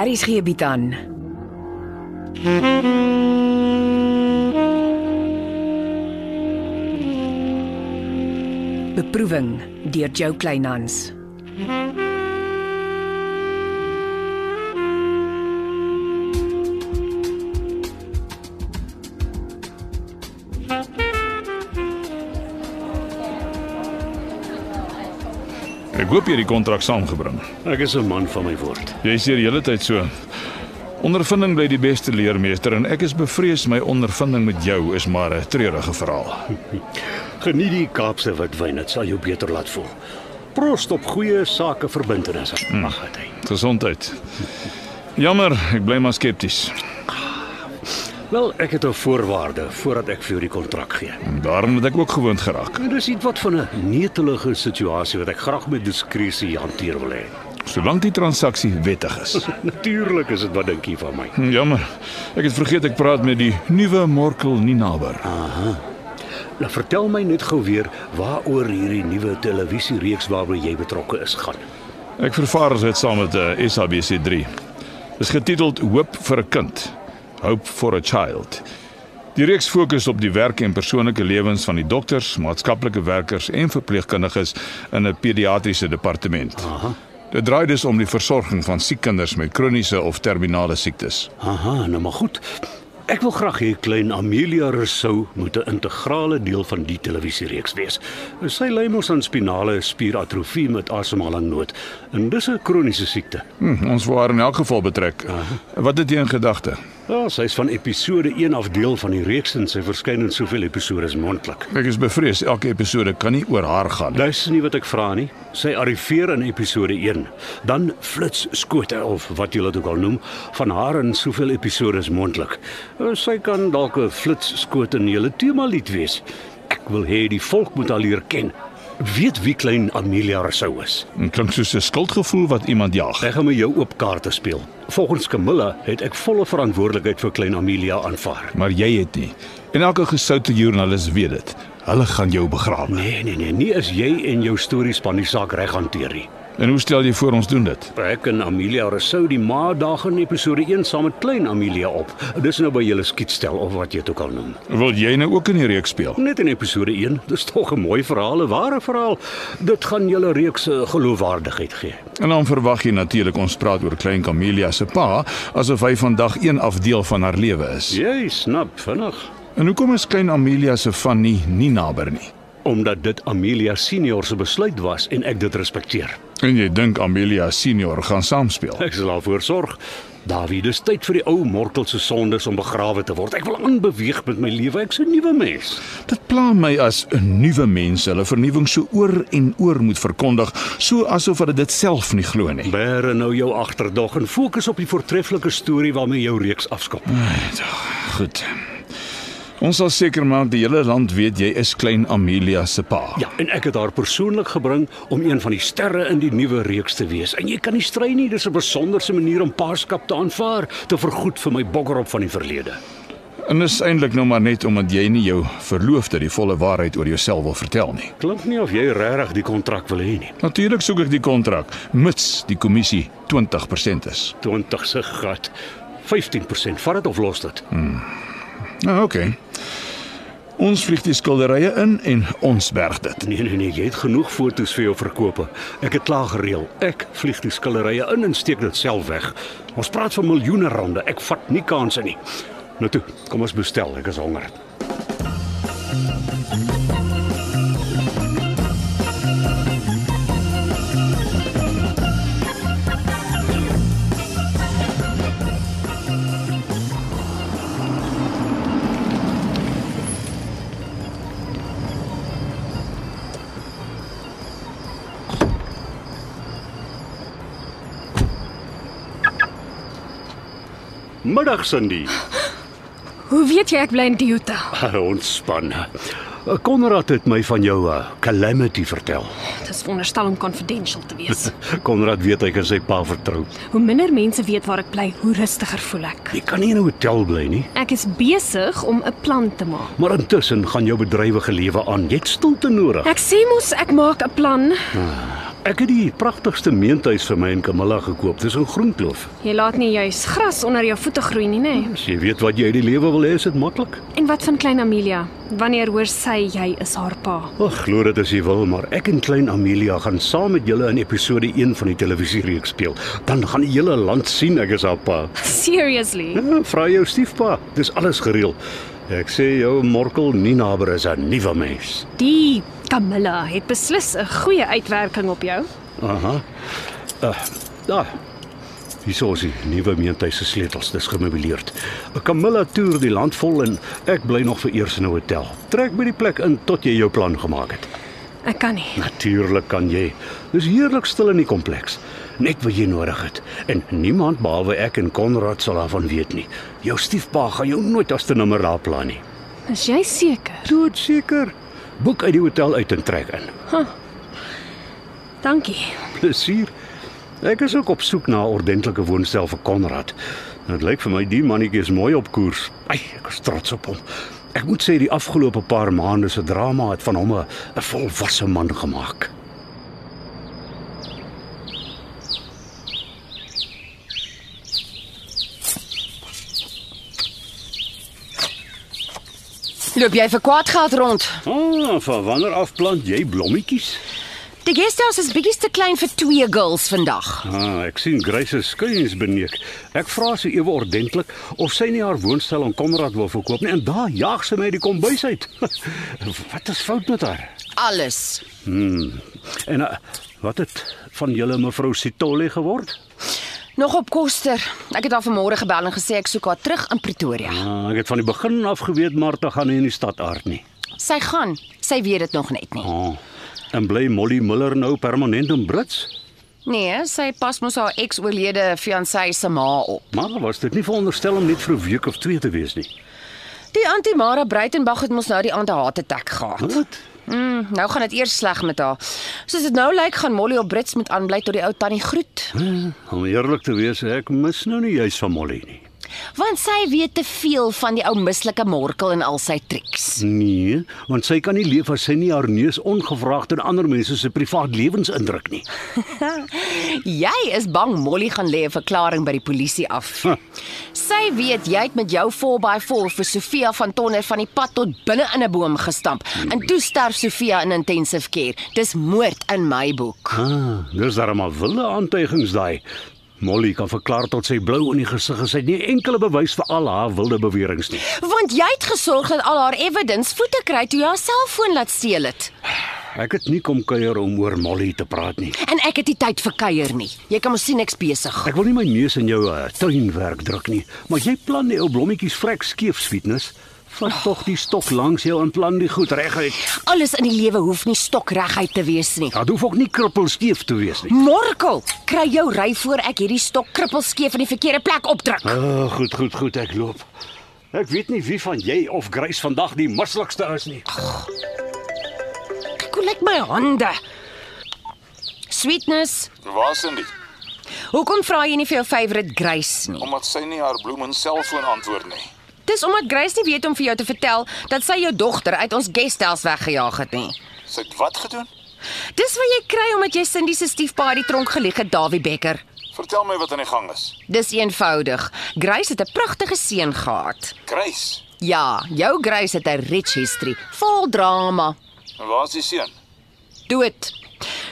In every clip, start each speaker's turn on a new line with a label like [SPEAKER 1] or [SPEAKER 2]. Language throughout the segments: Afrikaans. [SPEAKER 1] Aries gee bied aan. Beproeving deur Jo Kleinhans.
[SPEAKER 2] Ek hoop jy het die kontrak saamgebring.
[SPEAKER 3] Ek is 'n man van my woord.
[SPEAKER 2] Jy is hier die hele tyd so. Ondervinding bly die beste leermeester en ek is bevrees my ondervinding met jou is maar 'n treurige verhaal.
[SPEAKER 3] Geniet die Kaapse witwyn, dit sal jou beter laat voel. Prost op goeie sakeverbintenisse. Mag dit. hy.
[SPEAKER 2] Gesondheid. Jammer, ek bly maar skepties.
[SPEAKER 3] Wel, ek het 'n voorwaarde voordat ek vir jou die kontrak gee.
[SPEAKER 2] Daarom het ek ook gewoond geraak.
[SPEAKER 3] En dis iets wat van 'n netelige situasie wat ek graag met diskresie hanteer wil hê.
[SPEAKER 2] Solank die transaksie wettig is.
[SPEAKER 3] Natuurlik is dit wat dink jy van my.
[SPEAKER 2] Jammer. Ek het vergeet ek praat met die nuwe Morkel Ninaber.
[SPEAKER 3] Nou vertel my net gou weer waaroor hierdie nuwe televisiereeks waarby jy betrokke is gaan.
[SPEAKER 2] Ek vervaardig dit saam met 'n uh, SABC3. Dis getiteld Hoop vir 'n kind. Hope for a child. Die reeks fokus op die werk en persoonlike lewens van die dokters, maatskaplike werkers en verpleegkundiges in 'n pediatriese departement. Aha. Dit draai dus om die versorging van siek kinders met kroniese of terminale siektes.
[SPEAKER 3] Aha, nou maar goed. Ek wil graag hê klein Amelia Rousseau moet 'n integrale deel van die televisiereeks wees. Sy ly mos aan spinale spieratrofie met asemhalingnood en dis 'n kroniese siekte.
[SPEAKER 2] Hm, ons wou haar in elk geval betrek. Wat het jy in gedagte?
[SPEAKER 3] Ja, sy is van episode 1 af deel van die reeks en sy verskyn in soveel episode as moontlik.
[SPEAKER 2] Ek is bevrees elke episode kan nie oor haar gaan nie.
[SPEAKER 3] Dis nie wat ek vra nie. Sy arriveer in episode 1. Dan flits skote of wat jy dit ook al noem van haar in soveel episode as moontlik. Eh, Sy kan dalk 'n flits skoot in die hele tema lied wees. Ek wil hê die volk moet haar leer ken. Weet wie klein Amelia Rousseau is.
[SPEAKER 2] Klink soos 'n skuldgevoel wat iemand jaag.
[SPEAKER 3] Ek gaan met jou oop kaarte speel. Volgens Camilla het ek volle verantwoordelikheid vir klein Amelia aanvaar.
[SPEAKER 2] Maar jy het nie. En elke gesoute joernalis weet dit. Hulle gaan jou begrawe.
[SPEAKER 3] Nee, nee, nee, nie as jy en jou stories van die saak reg hanteer nie.
[SPEAKER 2] En hoe stel jy voor ons doen dit?
[SPEAKER 3] Ek en Amelia Rousseau die maandag in episode 1 saam met klein Amelia op. Dis nou by julle skietstel of wat jy dit ook al noem.
[SPEAKER 2] Wil jy nou ook in die reeks speel?
[SPEAKER 3] Net in episode 1. Dis tog 'n mooi verhaal, 'n ware verhaal. Dit gaan julle reeks eh, geloofwaardigheid gee.
[SPEAKER 2] En dan verwag jy natuurlik ons praat oor klein Camelia se pa asof hy vandag een afdeel van haar lewe is.
[SPEAKER 3] Jy snap vinnig.
[SPEAKER 2] En hoekom is klein Amelia se van nie nie nader nie?
[SPEAKER 3] Omdat dit Amelia senior se besluit was en ek dit respekteer.
[SPEAKER 2] En jy dink Amelia senior gaan saamspeel?
[SPEAKER 3] Ek sal daarvoor sorg. Dawie, dis tyd vir die ou mortel se sondes om begrawe te word. Ek wil aanbeweeg met my lewe. Ek's 'n nuwe mens.
[SPEAKER 2] Dit pla my as 'n nuwe mens hulle vernuwing so oor en oor moet verkondig, so asof hulle dit self nie glo nie.
[SPEAKER 3] Bære nou jou agterdog en fokus op die voortreffelike storie waarmee jou reeks afskop.
[SPEAKER 2] Goed. Ons sal seker maak die hele land weet jy is klein Amelia se pa.
[SPEAKER 3] Ja, en ek het haar persoonlik gebring om een van die sterre in die nuwe reeks te wees. En jy kan nie strei nie, dis 'n besonderse manier om paarskap te aanvaar, te vergoed vir my bokkerop van die verlede.
[SPEAKER 2] En is eintlik nou maar net omdat jy nie jou verloofde die volle waarheid oor jouself wil vertel nie.
[SPEAKER 3] Klink nie of jy regtig die kontrak wil hê nie.
[SPEAKER 2] Natuurlik soek ek die kontrak mits die kommissie 20% is.
[SPEAKER 3] 20 se gat. 15% vat dit of los dit.
[SPEAKER 2] Nou ah, oké. Okay. Ons vlieg die skilderye in en ons berg dit.
[SPEAKER 3] Nee nee nee, jy het genoeg fotos vir jou verkope. Ek het klaar gereël. Ek vlieg die skilderye in en steek dit self weg. Ons praat van miljoene rande. Ek vat nie kansse nie. Nou toe, kom ons bestel. Ek is honger. Middag Cindy.
[SPEAKER 4] Hoe weet jy ek bly in die hotel?
[SPEAKER 3] Ontspan. Konrad het my van jou uh, calamity vertel.
[SPEAKER 4] Dit is veronderstel om confidential te wees.
[SPEAKER 3] Konrad weet hy kan sy pa vertrou.
[SPEAKER 4] hoe minder mense weet waar ek bly, hoe rustiger voel ek.
[SPEAKER 3] Jy kan nie in 'n hotel bly nie.
[SPEAKER 4] Ek is besig om 'n plan te maak.
[SPEAKER 3] Maar intussen gaan jou bedrywige lewe aan. Jy het stilte nodig.
[SPEAKER 4] Ek sê mos ek maak 'n plan.
[SPEAKER 3] Ek het die pragtigste meentuis vir my en Camilla gekoop. Dis in Groenkloof.
[SPEAKER 4] Jy laat nie juis gras onder jou voete groei nie, nê?
[SPEAKER 3] As jy weet wat jy uit die lewe wil hê, is dit maklik.
[SPEAKER 4] En wat van klein Amelia? Wanneer hoor sy jy is haar pa?
[SPEAKER 3] Ag, glo dit as jy wil, maar ek en klein Amelia gaan saam met julle in episode 1 van die televisiereeks speel. Dan gaan die hele land sien ek is haar pa.
[SPEAKER 4] Seriously?
[SPEAKER 3] Ja, vra jou stiefpa, dis alles gereël. Ek sê jou Morkel Ninaber is 'n nuwe mens.
[SPEAKER 4] Die Camilla het beslis 'n goeie uitwerking op jou.
[SPEAKER 3] Aha. Uh, daar. Hierso is die nuwe meentuis se sleutels, dis gemeubileerd. 'n Camilla toer die land vol en ek bly nog vir eers in 'n hotel. Trek by die plek in tot jy jou plan gemaak het.
[SPEAKER 4] Ek kan nie.
[SPEAKER 3] Natuurlik kan jy. Dis heerlik stil in die kompleks. Net wat jy nodig het. En niemand behalwe ek en Konrad sal daarvan weet nie. Jou stiefpa gaan jou nooit as te nimmer raapla nie.
[SPEAKER 4] Is jy seker?
[SPEAKER 3] Doodseker. Boek uit die hotel uit en trek in.
[SPEAKER 4] Dankie.
[SPEAKER 3] Plesier. Ek is ook op soek na 'n ordentlike woonstel vir Konrad. Dit lyk vir my die mannetjie is mooi op koers. Ai, ek is trots op hom. Ek moet sê die afgelope paar maande se drama het van hom 'n 'n volwasse man gemaak.
[SPEAKER 5] Loop jy vir kwaad geld rond?
[SPEAKER 3] Ah, van wanneer af plant jy blommetjies?
[SPEAKER 5] Die guesthouse is bietjie te klein vir twee girls vandag.
[SPEAKER 3] Ah, ek sien Grace is skuins beneek. Ek vra sy ewe ordentlik of sy nie haar woonstel aan Konrad wil verkoop nie en daar jaag sy my uit die kombuis uit. wat is fout met haar?
[SPEAKER 5] Alles.
[SPEAKER 3] En uh, wat het van julle mevrou Sitole geword?
[SPEAKER 5] Nog op koster. Ek het haar vanmôre gebel en gesê ek soek haar terug in Pretoria.
[SPEAKER 3] Ah, ek het van die begin af geweet Martha gaan nie in die stad aard nie.
[SPEAKER 5] Sy gaan. Sy weet dit nog net nie.
[SPEAKER 3] Ah, en bly Molly Miller nou permanent in Brits?
[SPEAKER 5] Nee, sy pas mos haar ex-oorlede fiancé se ma op.
[SPEAKER 3] Maar was dit nie veronderstel om net vir 'n week of twee te wees nie?
[SPEAKER 5] Die antie Mara Breitenberg het mos nou die aand 'n hartattack gehad.
[SPEAKER 3] Wat?
[SPEAKER 5] Mm, nou gaan dit eers sleg met haar. Soos dit nou lyk, gaan Molly op Brits moet aanbly tot die ou tannie groet,
[SPEAKER 3] Eh, Om eerlik te wees, ek mis nou nie juis van Molly nie.
[SPEAKER 5] want sy weet te veel van die ou mislike morkel en al sy triks.
[SPEAKER 3] Nee, want sy kan nie leef as sy nie haar neus ongevraagd in ander mense se privaat lewens indruk nie.
[SPEAKER 5] Jy is bang Molly gaan lê 'n verklaring by die polisie af.
[SPEAKER 3] Huh.
[SPEAKER 5] Sy weet jy het met jou 4x4 vir Sofia van Tonner van die pad tot binne in 'n boom gestamp. En toe sterf Sofia in intensive care. Dis moord in my boek.
[SPEAKER 3] Ah, dis darem maar wille aantuigings daai. Molly kan verklaar tot sy blou in die gesig is, sy het nie enkele bewys vir al haar wilde beweringe nie.
[SPEAKER 5] Want jy het gesorg dat al haar evidence voete kry toe jy haar selfoon laat steel het.
[SPEAKER 3] Ek het nie kom kuier om oor Molly te praat nie.
[SPEAKER 5] En ek het nie tyd vir kuier nie. Jy kan mos sien ek's besig.
[SPEAKER 3] Ek wil nie my neus in jou uh, tuinwerk druk nie, maar jy plan die ou blommetjies vrek skeef sweetness. Vat tog die stok langs jou en plan die goed reguit.
[SPEAKER 5] Alles in die lewe hoef nie stokreguit te wees nie.
[SPEAKER 3] Dit hoef ook nie krippelskeef te wees nie.
[SPEAKER 5] Morkel, kry jou ry voor ek hierdie stok krippelskeef in die verkeerde plek opdruk.
[SPEAKER 3] Oh, goed, goed, goed, ek loop. Ek weet nie wie van jy of Grace vandag die mislikste is nie.
[SPEAKER 5] Kyk hoe lyk my hande. Sweetness,
[SPEAKER 6] Waar sien dit?
[SPEAKER 5] hoekom vra jy nie vir jou favourite Grace nie?
[SPEAKER 6] Omdat sy nie haar bloem en selfoon antwoord nie.
[SPEAKER 5] Dis omdat Grace nie weet om vir jou te vertel dat sy jou dogter uit ons guesthouse weggejaag het nie.
[SPEAKER 6] Sy het wat gedoen?
[SPEAKER 5] Dis wat jy kry omdat jy Cindy se stiefpa uit die tronk gelieg het, Dawie Becker.
[SPEAKER 6] Vertel my wat aan die gang is.
[SPEAKER 5] Dis eenvoudig. Grace het 'n pragtige seun gehad.
[SPEAKER 6] Grace,
[SPEAKER 5] Ja, jou Grace het 'n rich history, vol drama.
[SPEAKER 6] en waar is die seun?
[SPEAKER 5] Dood.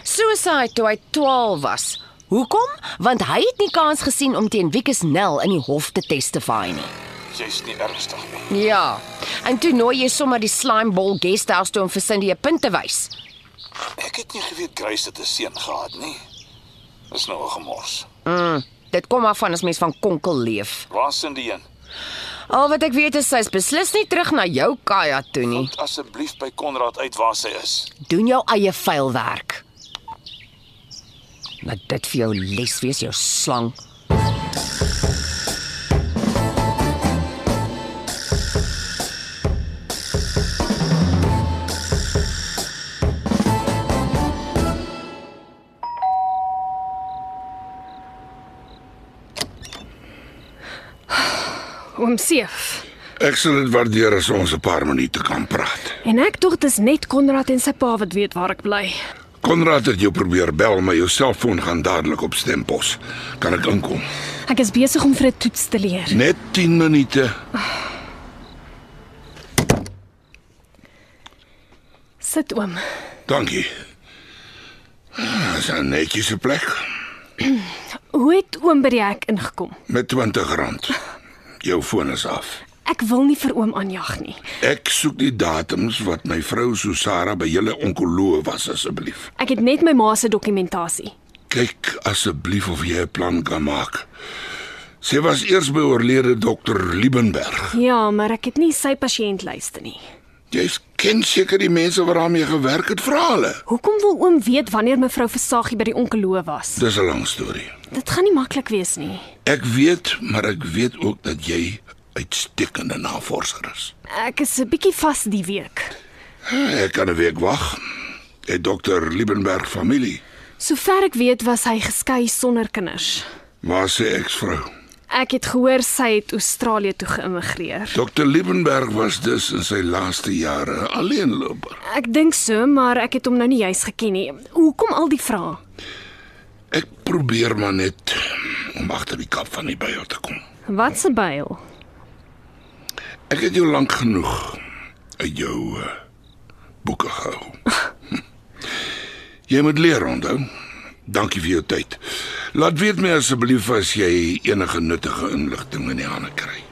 [SPEAKER 5] Suicide toe hy 12 was. Hoekom? Want hy het nie kans gesien om teen Wikus Nel in die hof te testify nie.
[SPEAKER 6] Jy's nie ernstig nie.
[SPEAKER 5] Ja. En toe nooi jy sommer die slimebol guesthouse toe om vir Cindy 'n punt te wys.
[SPEAKER 6] Ek het nie geweet Grace het 'n seun gehad nie. Dis nou 'n gemors.
[SPEAKER 5] Dit kom af van as mens van konkel leef.
[SPEAKER 6] Waar sien die een?
[SPEAKER 5] Al wat ek weet is sy's beslis nie terug na jou Kaja toe nie.
[SPEAKER 6] Vind asseblief by Konrad uit waar sy is.
[SPEAKER 5] Doen jou eie vuil werk. Laat dit vir jou les wees, jou slang.
[SPEAKER 4] Oom Seef.
[SPEAKER 7] Ek sal dit waardeer as ons 'n paar minute kan praat.
[SPEAKER 4] En ek dink dis net Konrad en sy pa wat weet waar ek bly.
[SPEAKER 7] Konrad het jou probeer bel, maar jou selfoon gaan dadelik op stempos. Kan ek inkom?
[SPEAKER 8] Ek is besig om vir 'n toets te leer.
[SPEAKER 7] Net 10 minute.
[SPEAKER 8] Sit oom.
[SPEAKER 7] Dankie. Ah, Dis 'n netjiese plek
[SPEAKER 8] Hoe het oom by die hek ingekom?
[SPEAKER 7] met R20. Jou foon is af.
[SPEAKER 8] Ek wil nie vir oom aanjag nie.
[SPEAKER 7] Ek soek die datums wat my vrou Susara by julle onkoloog was asseblief.
[SPEAKER 8] Ek het net my ma se dokumentasie.
[SPEAKER 7] Kyk asseblief of jy 'n plan kan maak. Sy was eers by oorlede dokter Liebenberg.
[SPEAKER 8] Ja, maar ek het nie sy pasiëntlyste nie.
[SPEAKER 7] Jy ken seker die mense waaraan jy gewerk het vra hulle.
[SPEAKER 8] Hoekom wil oom weet wanneer mevrou Versaagie by die onkoloog was?
[SPEAKER 7] Dis 'n lang storie.
[SPEAKER 8] Dit gaan nie maklik wees nie.
[SPEAKER 7] Ek weet, maar ek weet ook dat jy uitstekende navorser is.
[SPEAKER 8] Ek is 'n bietjie vas die week.
[SPEAKER 7] Ek kan 'n week wag. Het dokter Liebenberg familie?
[SPEAKER 8] Sover ek weet was hy geskei sonder kinders.
[SPEAKER 7] Waar is sy eksvrou?
[SPEAKER 8] Ek het gehoor sy het Australië toe geëmigreer.
[SPEAKER 7] Dokter Liebenberg was dus in sy laaste jare 'n alleenloper.
[SPEAKER 8] Ek dink so, maar ek het hom nou nie juis geken nie. Hoekom al die vrae?
[SPEAKER 7] Ek probeer maar net om agter die kap van die byl te kom.
[SPEAKER 8] Wat se byl?
[SPEAKER 7] Ek het jou lank genoeg uit jou eh, boeke gehou. jy moet leer onthou. Dankie vir jou tyd. Laat weet my asseblief as jy enige nuttige inligting in die hande kry.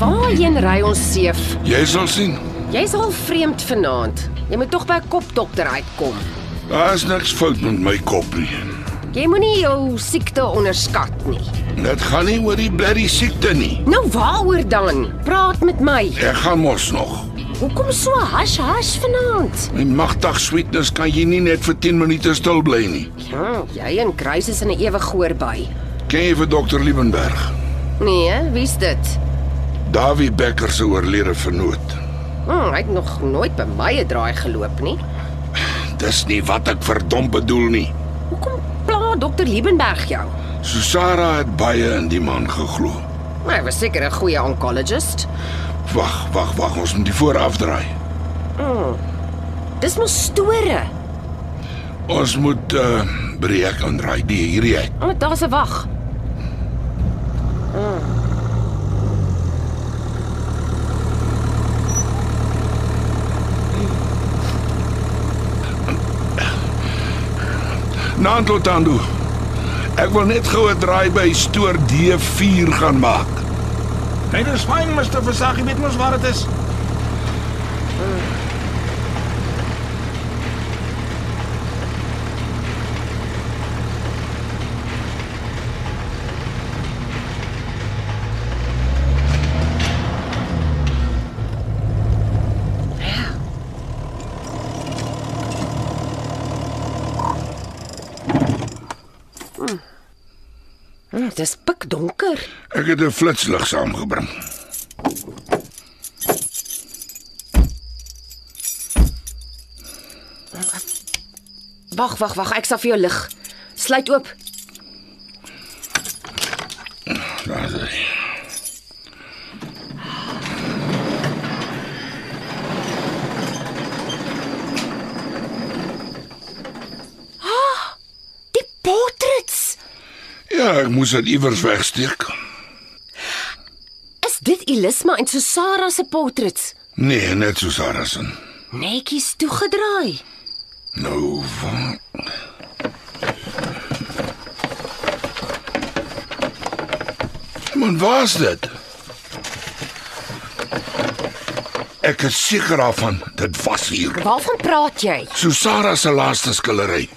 [SPEAKER 5] Waarheen ry ons seef?
[SPEAKER 7] Jy sal sien.
[SPEAKER 5] Jy's al vreemd vanaand. Jy moet tog by 'n kopdokter uitkom.
[SPEAKER 7] Daar is niks fout met my kop nie.
[SPEAKER 5] Jy moenie jou siekte onderskat nie.
[SPEAKER 7] Dit gaan nie oor die blerrie siekte nie.
[SPEAKER 5] Nou waaroor dan? Praat met my.
[SPEAKER 7] Ek gaan mos nog.
[SPEAKER 5] Hoekom so hash hash vanaand?
[SPEAKER 7] My magtig sweetness kan jy nie net vir 10 minute stil bly nie.
[SPEAKER 5] Ja, jy en Grace is in 'n ewig goor by.
[SPEAKER 7] Ken jy vir dokter Liebenberg?
[SPEAKER 5] Nee, hè? wie's dit?
[SPEAKER 7] Davie Becker se oorlede vernoot.
[SPEAKER 5] Hm, hy het nog nooit by my 'n draai geloop nie.
[SPEAKER 7] Dis nie wat ek verdom bedoel nie.
[SPEAKER 5] Hoekom pla dokter Liebenberg jou?
[SPEAKER 7] Susara het baie in die man geglo.
[SPEAKER 5] Hy was seker 'n goeie oncologist.
[SPEAKER 7] Wag, wag, wag, ons moet die vooraf draai.
[SPEAKER 5] Dis mos store.
[SPEAKER 7] Ons moet uh breek en draai die hierdie uit.
[SPEAKER 5] O, daar's 'n wag.
[SPEAKER 7] Nando Tando. Ek wil net gou 'n draai by stoor D4 gaan maak.
[SPEAKER 9] Nee, dis fyn, Mr. Versaggie, weet mos waar dit is.
[SPEAKER 5] Hm, dis pikdonker.
[SPEAKER 7] Ek het 'n flitslig saamgebring.
[SPEAKER 5] Wag, wag, wag, ek sal vir jou lig. Sluit oop.
[SPEAKER 7] Daar is hy.
[SPEAKER 5] Die portrets.
[SPEAKER 7] Ja, ek moes dit iewers wegsteek.
[SPEAKER 5] Is dit Elisma en Susara se portrets?
[SPEAKER 7] Nee, net so Sarasen.
[SPEAKER 5] Netjies toegedraai.
[SPEAKER 7] Nou van Man, waar's dit? Ek is seker daarvan dit was hier.
[SPEAKER 5] Waarvan praat jy?
[SPEAKER 7] Susara se laaste skillery.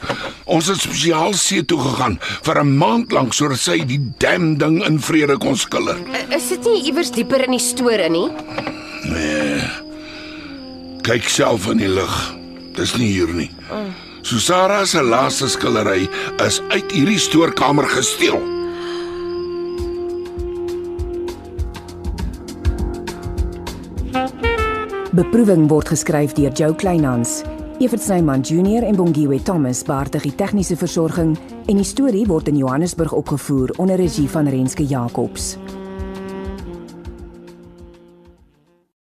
[SPEAKER 7] Ons het spesiaal see toe gegaan vir 'n maand lank sodat sy die dam ding in vrede kon skilder.
[SPEAKER 5] I- Is dit nie iewers dieper in die store nie?
[SPEAKER 7] Kyk self in die lig. Dis nie hier nie. Susara se laaste skillery is uit hierdie stoorkamer gesteel.
[SPEAKER 1] Beproeving word geskryf deur Jo Kleinhans Evert Snyman Junior en Bongiwe Thomas beheerdig die tegniese versorging en die storie word in Johannesburg opgevoer onder regie van Renske Jacobs.